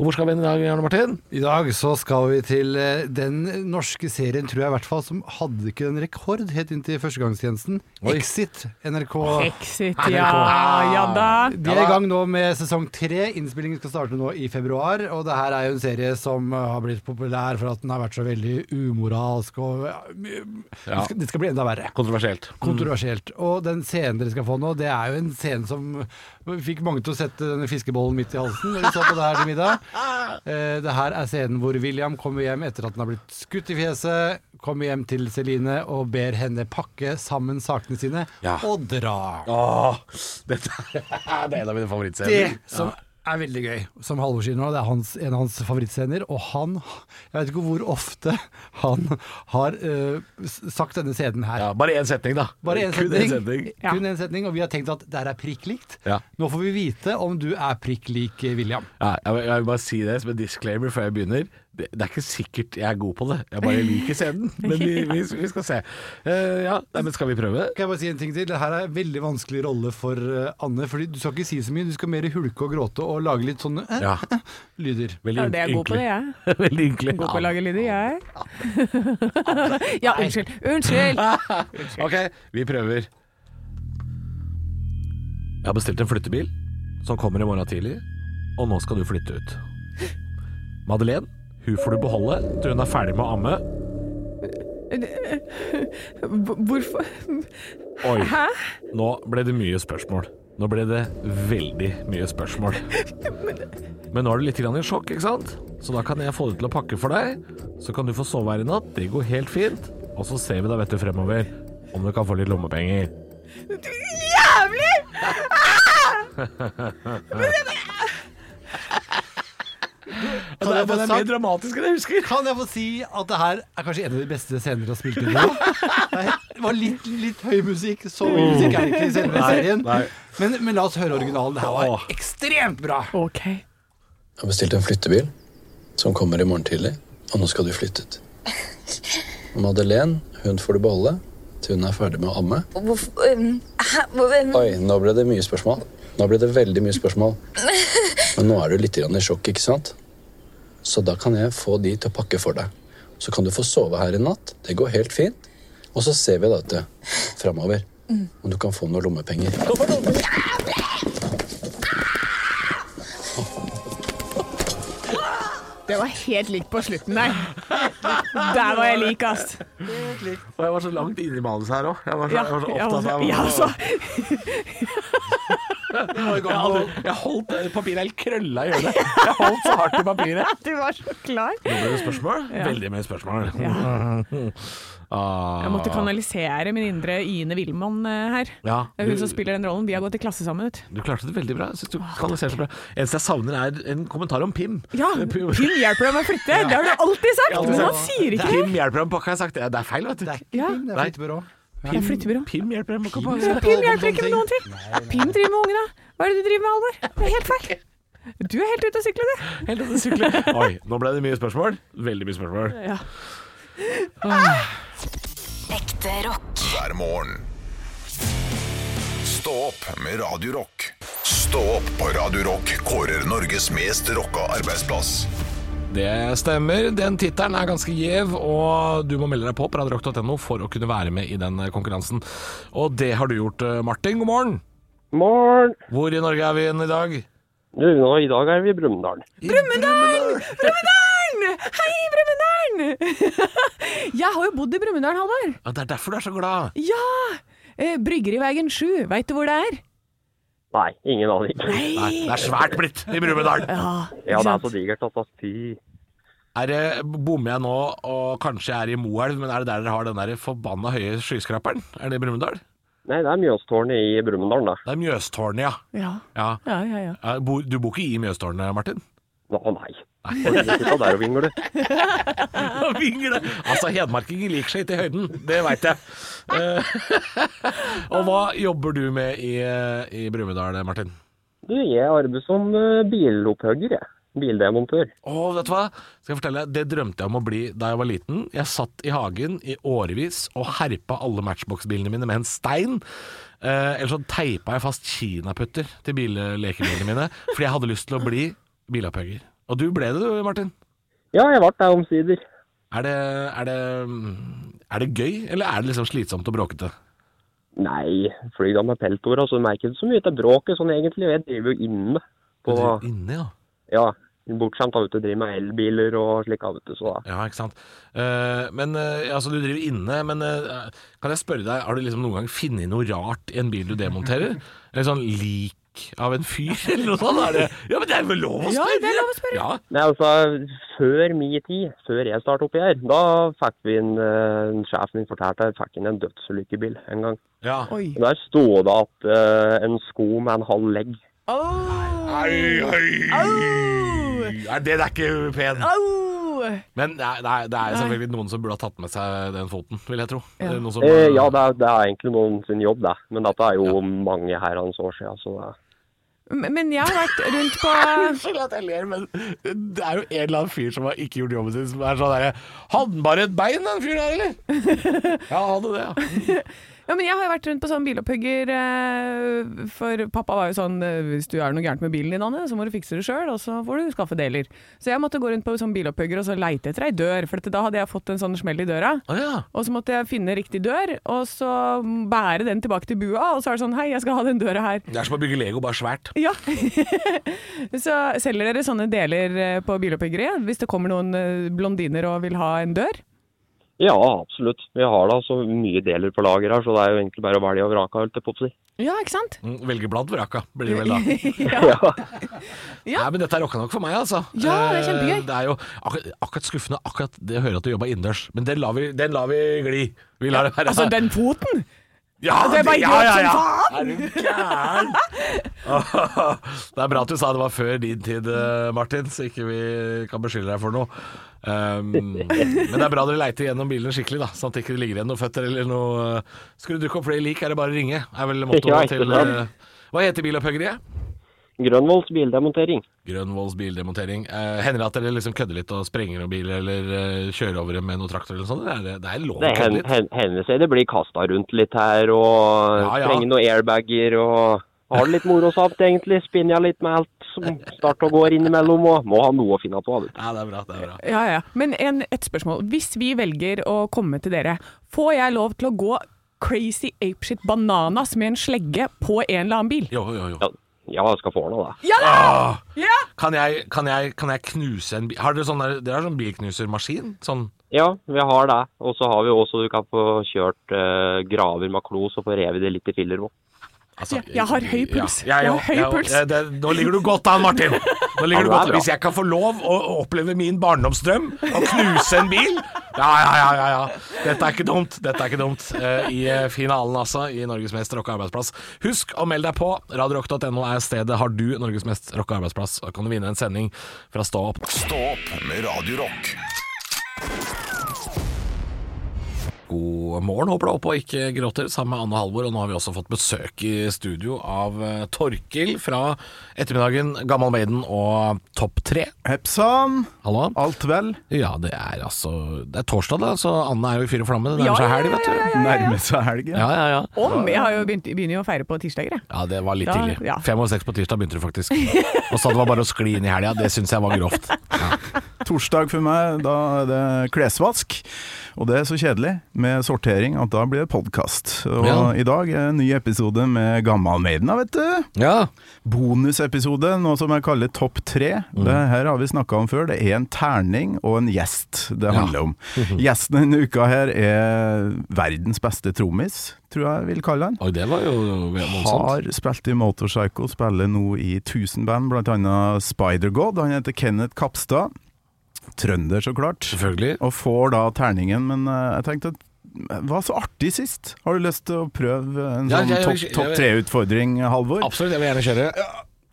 S3: Og hvor skal vi inn i dag, Arne Martin?
S10: I dag så skal vi til eh, den norske serien, tror jeg i hvert fall, som hadde ikke en rekord helt inn til førstegangstjenesten. Exit, NRK.
S2: Exit, ja. Ja da.
S10: De er i gang nå med sesong tre. Innspillingen skal starte nå i februar. Og det her er jo en serie som eh, har blitt populær for at den har vært så veldig umoralsk og ja, det, skal, det skal bli enda verre.
S3: Kontroversielt.
S10: Kontroversielt. Og den scenen dere skal få nå, det er jo en scene som fikk mange til å sette denne fiskebollen midt i halsen når de så på det her til middag. Eh, Det her er scenen hvor William kommer hjem etter at han har blitt skutt i fjeset, kommer hjem til Celine og ber henne pakke sammen sakene sine
S3: Ja.
S10: og dra.
S3: Åh, dette er det er en av mine favorittserier.
S10: Det som er veldig gøy, som Halvor sier nå, det er hans, en av hans favorittscener. Og han Jeg vet ikke hvor ofte han har eh, s- sagt denne scenen her.
S3: Ja, bare én setning, da.
S10: Bare én
S3: Kun
S10: setning.
S3: én setning.
S2: Ja.
S10: Kun en setning, og vi har tenkt at det her er prikk likt.
S3: Ja.
S10: Nå får vi vite om du er prikk lik eh, William.
S3: Ja, jeg, vil- jeg vil bare si det som en disclaimer før jeg begynner. Det, det er ikke sikkert jeg er god på det. Jeg bare liker scenen. Men vi, vi, vi skal se. Eh, ja, nei, men skal vi prøve?
S10: Kan jeg bare si en ting til? Det her er en veldig vanskelig rolle for eh, Anne. Fordi du skal ikke si så mye, du skal mer hulke og gråte og lage litt sånne eh,
S3: Ja.
S10: lyder.
S3: Veldig
S2: Ja, det er jeg god på det, jeg.
S3: ynkelig. Veldig ynkelig.
S2: God på å lage lyder, jeg. Ja, unnskyld. Unnskyld!
S3: Ok, vi prøver. Jeg har bestilt en flyttebil som kommer i morgen tidlig, og nå skal du flytte ut. Madeleine, hun får du beholde til hun er ferdig med å amme.
S2: Hvor- Hvorfor
S3: Oi,
S2: Hæ?
S3: nå ble det mye spørsmål. Nå ble det veldig mye spørsmål. Men nå er du litt grann i sjokk, ikke sant? Så da kan jeg få det til å pakke for deg. Så kan du få sove her i natt, det går helt fint. Og så ser vi da, vet du, fremover om du kan få litt lommepenger.
S2: Jævlig!
S10: Kan jeg, få sagt,
S3: dramatisk enn jeg husker.
S10: kan jeg få si at det her er kanskje en av de beste scener du har spilt inn? nå? Nei, Det var litt, litt høy musikk. Så mye musikk er det ikke i selve serien.
S3: Oh. nei.
S10: Men, men la oss høre originalen. Det her var ekstremt bra.
S2: OK.
S8: Jeg har bestilt en flyttebil som kommer i morgen tidlig, og nå skal du flytte ut. Og Madeleine, hun får du beholde til hun er ferdig med å amme.
S9: Hvorfor um, hæ? Hvor-
S8: Oi, nå ble det mye spørsmål. Nå ble det veldig mye spørsmål. Men nå er du litt grann i sjokk, ikke sant? Så da kan jeg få de til å pakke for deg. Så kan du få sove her i natt. Det går helt fint. Og så ser vi da til framover om du kan få noen lommepenger.
S2: Det var helt likt på slutten der. Der var jeg lik, ass.
S3: Og jeg var så langt inne i manuset her òg. Jeg, var
S2: Ja,
S3: så- jeg var så
S2: ja,
S3: opptatt av
S2: ja, altså.
S3: Jeg, hadde- jeg holdt papiret helt krølla i hjørnet. Jeg holdt så hardt i papiret.
S2: Du var så klar.
S3: Nå ble det spørsmål. Veldig mye spørsmål. Ah.
S2: Jeg måtte kanalisere min indre Ine Wilman eh, her.
S3: Ja,
S2: Det er hun
S3: du-
S2: som spiller den rollen. Vi har gått i klasse sammen, vet du.
S3: Du klarte det veldig bra. Jeg synes du kanaliserte det bra. Eneste jeg savner, er en kommentar om Pim.
S2: Ja,
S3: Eh,
S2: Pim
S3: Pim.
S2: hjelper deg med å flytte. Det har du alltid sagt,
S3: alltid
S2: men
S3: sagt.
S2: han sier ikke det.
S3: Pim hjelper dem på, har jeg sagt. Det Det er feil, vet du.
S10: Det er ikke
S2: Ja.
S10: Pim, det er
S3: Nei.
S10: flyttebyrå.
S2: Det er flyttebyrå.
S3: Pim hjelper dem på.
S2: Pim hjelper ikke med noen ting. Pim driver med ungene. Hva er det du driver med, Halvor? Det er helt feil. Du er helt ute å sykle, du.
S3: Helt ute å sykle. Oi, nå ble det mye spørsmål. Veldig mye spørsmål.
S2: Ja.
S4: Ekte rock.
S1: hver morgen. Stå opp med Radio Rock. Stå opp på Radio Rock kårer Norges mest rocka arbeidsplass.
S3: Det stemmer. Den tittelen er ganske gjev, og du må melde deg på på radiorock.no for å kunne være med i den eh, konkurransen. Og det har du gjort, eh, Martin. God morgen.
S7: Morn!
S3: Hvor i Norge er vi igjen i dag?
S7: Du, nå, I dag er vi i Brumunddal.
S3: Brumunddal!
S2: Brumunddal! Hei, Brumunddal! Jeg har jo bodd i Brumunddal, Halvor.
S3: Ja, det er derfor du er så glad.
S2: Ja! Eh, Bryggeriveien 7, veit du hvor det er?
S7: Nei, ingen aner ikke.
S3: Nei, det er svært blitt i Brumunddal.
S2: Ja,
S7: Ja,
S2: ikke
S7: det er
S2: sant?
S7: så digert, altså. Fy.
S3: Er det- Bommer jeg nå og kanskje jeg er i Moelv, men er det der dere har den der forbanna høye skyskraperen? Er det i Brumunddal?
S7: Nei, det er Mjøstårnet i Brumunddal, da.
S3: Det er Mjøstårnet, ja.
S2: ja.
S3: ja.
S2: Ja, ja, ja.
S3: Ja, bo- Du bor ikke i Mjøstårnet, Martin?
S7: Å nei. Nå ligger jeg sikkert der og vingler.
S3: Vingle! Altså, hedmarkinger liker seg ikke i høyden, det veit jeg. Eh, og hva jobber du med i, eh, i Brumunddal, Martin?
S7: Du, jeg arbeider som eh, bilopphugger, jeg. Bildemontør.
S3: Å, vet du hva? Skal jeg fortelle deg, Det drømte jeg om å bli da jeg var liten. Jeg satt i hagen i årevis og herpa alle Matchbox-bilene mine med en stein. Eh, eller så teipa jeg fast kinaputter til billekebilene mine, fordi jeg hadde lyst til å bli bilopphugger. Og du ble det, du, Martin.
S7: Ja, jeg ble der omsider.
S3: mm, Er det, er det, er det gøy, eller er det liksom slitsomt og bråkete?
S10: Nei, flyr da med peltor, altså. Merker ikke så mye til bråket sånn egentlig. Jeg driver jo inne. På,
S3: Inne, ja.
S10: ja, bortskjemt da, vet du. Driver med elbiler og slik, da, vet du. Så da.
S3: Ja, ikke sant. Eh, men eh, altså, du driver inne, men eh, kan jeg spørre deg, har du liksom noen gang funnet noe rart i en bil du demonterer? Eller sånn lik av en fyr, eller noe sånt? Er det? Ja, men det er vel lov å spørre!
S2: Ja, det er lov å spørre.
S3: Ja,
S10: Nei, altså, før min tid, før jeg startet oppi her, da fikk vi en, eh, en sjefen min fortalte, fikk inn en dødsulykkebil en gang.
S3: ja.
S2: Oi.
S10: Og Der sto det at eh, en sko med en halv legg.
S2: Au!
S3: Oi, oi. Nei, den er ikke pen.
S2: Au!
S3: Men nei, nei, det er selvfølgelig noen som burde ha tatt med seg den foten, vil jeg tro.
S2: Ja.
S3: Eh, Noen som,
S10: Eh, ja, det er, det er egentlig noen sin jobb, det. Men dette er jo mange herrens år siden, så det
S2: Men men jeg har vært rundt på
S3: Unnskyld at jeg ler, men det er jo en eller annen fyr som har ikke gjort jobben sin, som er sånn derre Hadde han bare et bein, den fyren her, eller? Ja, han hadde det, ja.
S2: Ja, men jeg har jo vært rundt på sånn bilopphugger, eh, for pappa var jo sånn eh, Hvis du er noe gærent med bilen din, Anne, så må du fikse det sjøl, og så får du skaffe deler. Så jeg måtte gå rundt på sånn bilopphugger og så leite etter ei dør, for at da hadde jeg fått en sånn smell i døra.
S3: Å ja.
S2: Og så måtte jeg finne riktig dør, og så bære den tilbake til bua, og så er det sånn Hei, jeg skal ha den døra her.
S3: Det er som å bygge Lego, bare svært.
S2: Ja. så selger dere sånne deler eh, på biloppbyggeriet hvis det kommer noen eh, blondiner og vil ha en dør?
S10: Ja, absolutt. Vi har da så mye deler på lager her, så det er jo egentlig bare å velge og vrake, holdt jeg på å si.
S2: Ja, ikke sant?
S3: Mm, Velge blant vraka, blir det vel da.
S2: ja. Ja.
S3: Nei, men dette er rocka nok for meg, altså.
S2: Ja, det er kjempegøy.
S3: Eh, Det er jo akkurat, akkurat skuffende akkurat det å høre at du jobba innendørs, men den lar vi, den lar vi gli. Vi lar det være.
S2: Altså, den foten!
S3: ja,
S2: det er bare
S3: ja,
S2: gråt
S3: ja,
S2: som
S3: ja. Er du gæren? det er bra at du sa det var før din tid, eh, Martin, så ikke vi kan beskylde deg for noe. Um, men det er bra dere leiter gjennom bilene skikkelig, da, sånn at det ikke ligger igjen noen føtter eller noe eh, Skulle du dukke opp flere lik, er det bare å ringe. Er vel
S10: Ja,
S3: mottoet
S10: ikke
S3: til
S10: sant.
S3: eh, Hva heter bilopphøggeriet?
S10: Grønvolds bildemontering.
S3: Grønvolls bildemontering. Eh, hender det at dere liksom kødder litt og sprenger noen biler eller eh, kjører over dem med noen traktor eller noe sånt? eller Er det, det er lov å
S10: Det hen-
S3: kødde litt.
S10: hen- hender seg det blir kasta rundt litt her, og
S3: Ja, ja.
S10: sprenge noen airbager og har det litt morosamt, egentlig. Spinner jeg litt med alt som starter og går innimellom, og må ha noe å finne på. Vet du.
S3: Ja, det er bra. det er bra
S2: Ja, ja. Men en, et spørsmål. Hvis vi velger å komme til dere, får jeg lov til å gå crazy apeshit bananas med en slegge på en eller annen bil?
S3: Jo, jo, jo. Ah!
S10: Ja, ja, jeg skal få ordna det.
S2: Ja!
S3: Kan, jeg, kan, jeg, kan jeg knuse en bil Har dere sånn, der, dere har sånn bilknusermaskin? Sånn
S10: Ja, vi har det. Og så har vi også du kan få kjørt eh, graver med klos og få revet det litt i filler òg.
S3: altså,
S2: Jeg- jeg har høy puls.
S3: Ja, jeg
S2: Jeg har
S3: òg,
S2: høy
S3: jeg òg.
S2: puls.
S3: Ja, det, nå ligger du godt an, Martin. Nå ligger
S10: Ja,
S3: du
S10: det er
S3: godt an.
S10: bra.
S3: Hvis jeg kan få lov å å oppleve min barndomsdrøm, å knuse en bil Ja, ja, ja. ja, ja. Dette er ikke dumt. Dette er ikke dumt. Eh, I eh, finalen, altså, i Norges mest rocka arbeidsplass. Husk å melde deg på. Radiorock.no er stedet. Har du Norges mest rocka arbeidsplass, da kan du vinne en sending fra Stå opp.
S11: Stå opp med Radio Rock.
S3: God morgen, håper du er oppe og ikke gråter, sammen med Anne Halvor. Og nå har vi også fått besøk i studio av eh, Torkil fra ettermiddagen, Gammal Maiden og Topp 3.
S12: Hepsan,
S3: Hallo.
S12: alt vel?
S3: Ja, det er altså Det er torsdag, da, så Anne er jo i fyr og flamme. Det
S2: Ja,
S3: nærmer seg
S2: ja,
S3: helg, vet du.
S12: Nærmer seg helgen.
S3: Ja, ja, ja.
S2: Om! Jeg har jo begynt, begynner jo å feire på tirsdager, jeg.
S3: Ja, det var litt
S2: Ja,
S3: tidlig.
S2: ja.
S3: Fem over seks på tirsdag begynte du faktisk. Og sa det var bare å skli inn i helga. Det syns jeg var grovt. Ja.
S12: Torsdag for meg, da er det klesvask. Og det er så kjedelig med sortering at da blir det podkast. Og
S3: Ja.
S12: i dag er en ny episode med Gammal Maiden, da, vet du.
S3: ja.
S12: Bonusepisode, noe som jeg kaller Topp tre.
S3: Mm.
S12: Det her har vi snakka om før. Det er en terning og en gjest det handler om. Gjesten denne uka her er verdens beste trommis, tror jeg vil kalle han.
S3: Oi, det var jo voldsomt.
S12: Har spilt i Motorpsycho, spiller nå i 1000 band, bl.a. Spider-God. Han heter Kenneth Kapstad. Trønder, så klart.
S3: Selvfølgelig.
S12: Og får da terningen, men eh, jeg tenkte at eh, det var så artig sist. Har du lyst til å prøve en
S3: Ja,
S12: sånn
S3: jeg-
S12: topp
S3: jeg-
S12: topp tre-utfordring, Halvor?
S3: Absolutt, jeg vil gjerne kjøre.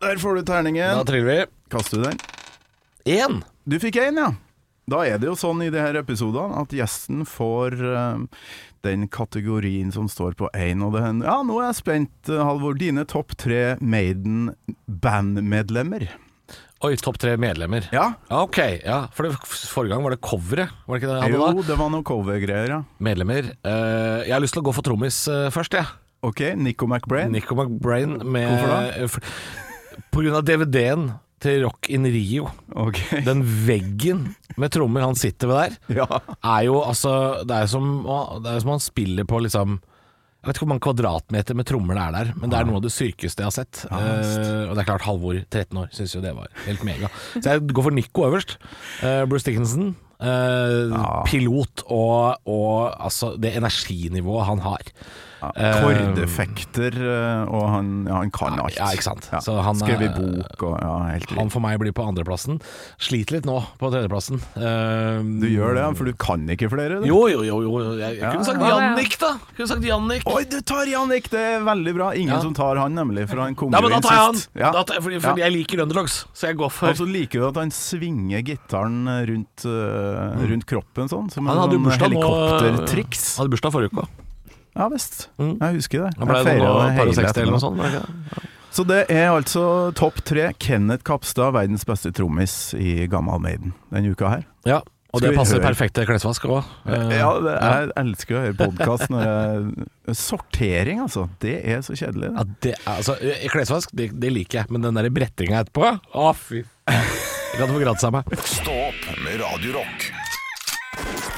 S12: Der får du
S3: Da
S12: terningen.
S3: triller
S12: Kaster du den?
S3: vi. Én.
S12: Du fikk én, ja. Da er det jo sånn i de her episodene at gjesten får eh, den kategorien som står på én. Og det hender Ja, nå er jeg spent, eh, Halvor. Dine topp tre Maiden-bandmedlemmer.
S3: Oi, topp tre medlemmer.
S12: Ja.
S3: Ja, Ok, ja. For det, forrige gang var det coveret, var det ikke det? jeg hadde
S12: Jo,
S3: da?
S12: det var noen covergreier, ja.
S3: Medlemmer. Eh, jeg har lyst til å gå for trommis eh, først, jeg.
S12: Ok, Nico McBrain.
S3: Nico McBrain med
S12: Hvorfor
S3: da? På grunn av DVD-en til Rock in Rio.
S12: Ok.
S3: Den veggen med trommer han sitter ved der,
S12: Ja.
S3: er jo altså Det er jo som, det er jo som han spiller på liksom Jeg vet ikke hvor mange kvadratmeter med trommer det er der, men det er noe av det syrkeste jeg har sett.
S13: Ja, visst.
S3: Eh, og det er klart, Halvor, 13 år, syns jo det var helt mega. Så jeg går for Nico øverst. Eh, Bruce Dickinson. eh, Pilot og, og altså det energinivået han har. Eh,
S12: Kordefekter, eh, og han, ja, han kan alt.
S3: ja, ikke sant. Så han er-
S12: Skrevet bok og ja, helt
S3: Han for meg blir på andreplassen. Sliter litt nå på tredjeplassen. Eh,
S12: Du gjør det, ja, for du kan ikke flere? Du.
S3: Jo, jo, jo. jo. Jeg, jeg
S12: Ja,
S3: kunne sagt
S12: ja.
S3: Jannik, da. Kunne sagt Jannik.
S12: Oi, du tar Jannik! Det er veldig bra. Ingen som tar han, nemlig, for han kom
S3: Ja, Altså, men
S12: jo
S3: da
S12: inn
S3: tar jeg han!
S12: sist. Ja.
S3: Da tar jeg, fordi fordi
S12: Ja.
S3: jeg liker Underdogs, så jeg går for
S12: Og så liker du at han svinger gitaren rundt, eh, rundt kroppen sånn, som
S3: Mm. Han
S12: en
S3: hadde jo
S12: sånn
S3: bursdag nå
S12: helikoptertriks.
S3: Han hadde bursdag forrige uke òg.
S12: Ja visst. Jeg husker det.
S3: Han ble
S12: Jeg
S3: det
S12: feiret
S3: nå
S12: det
S3: par og
S12: hele
S3: seksti eller noe
S12: ettermiddag.
S3: sånt. var det ikke det?
S12: Så det er altså topp tre. Kenneth Kapstad, verdens beste trommis i Gammal Maiden denne uka her.
S3: Ja, og
S12: Skal
S3: det
S12: vi
S3: passer
S12: høre?
S3: perfekt til klesvask Eh, òg.
S12: Ja, det, jeg elsker å høre podkast når jeg Sortering, altså. Det er så kjedelig.
S3: Ja, det er, altså, eh, klesvask, det, det liker jeg, men den der brettinga etterpå Å, fy faen. Jeg kan få gratis av meg.
S14: Stå opp med Radio Rock.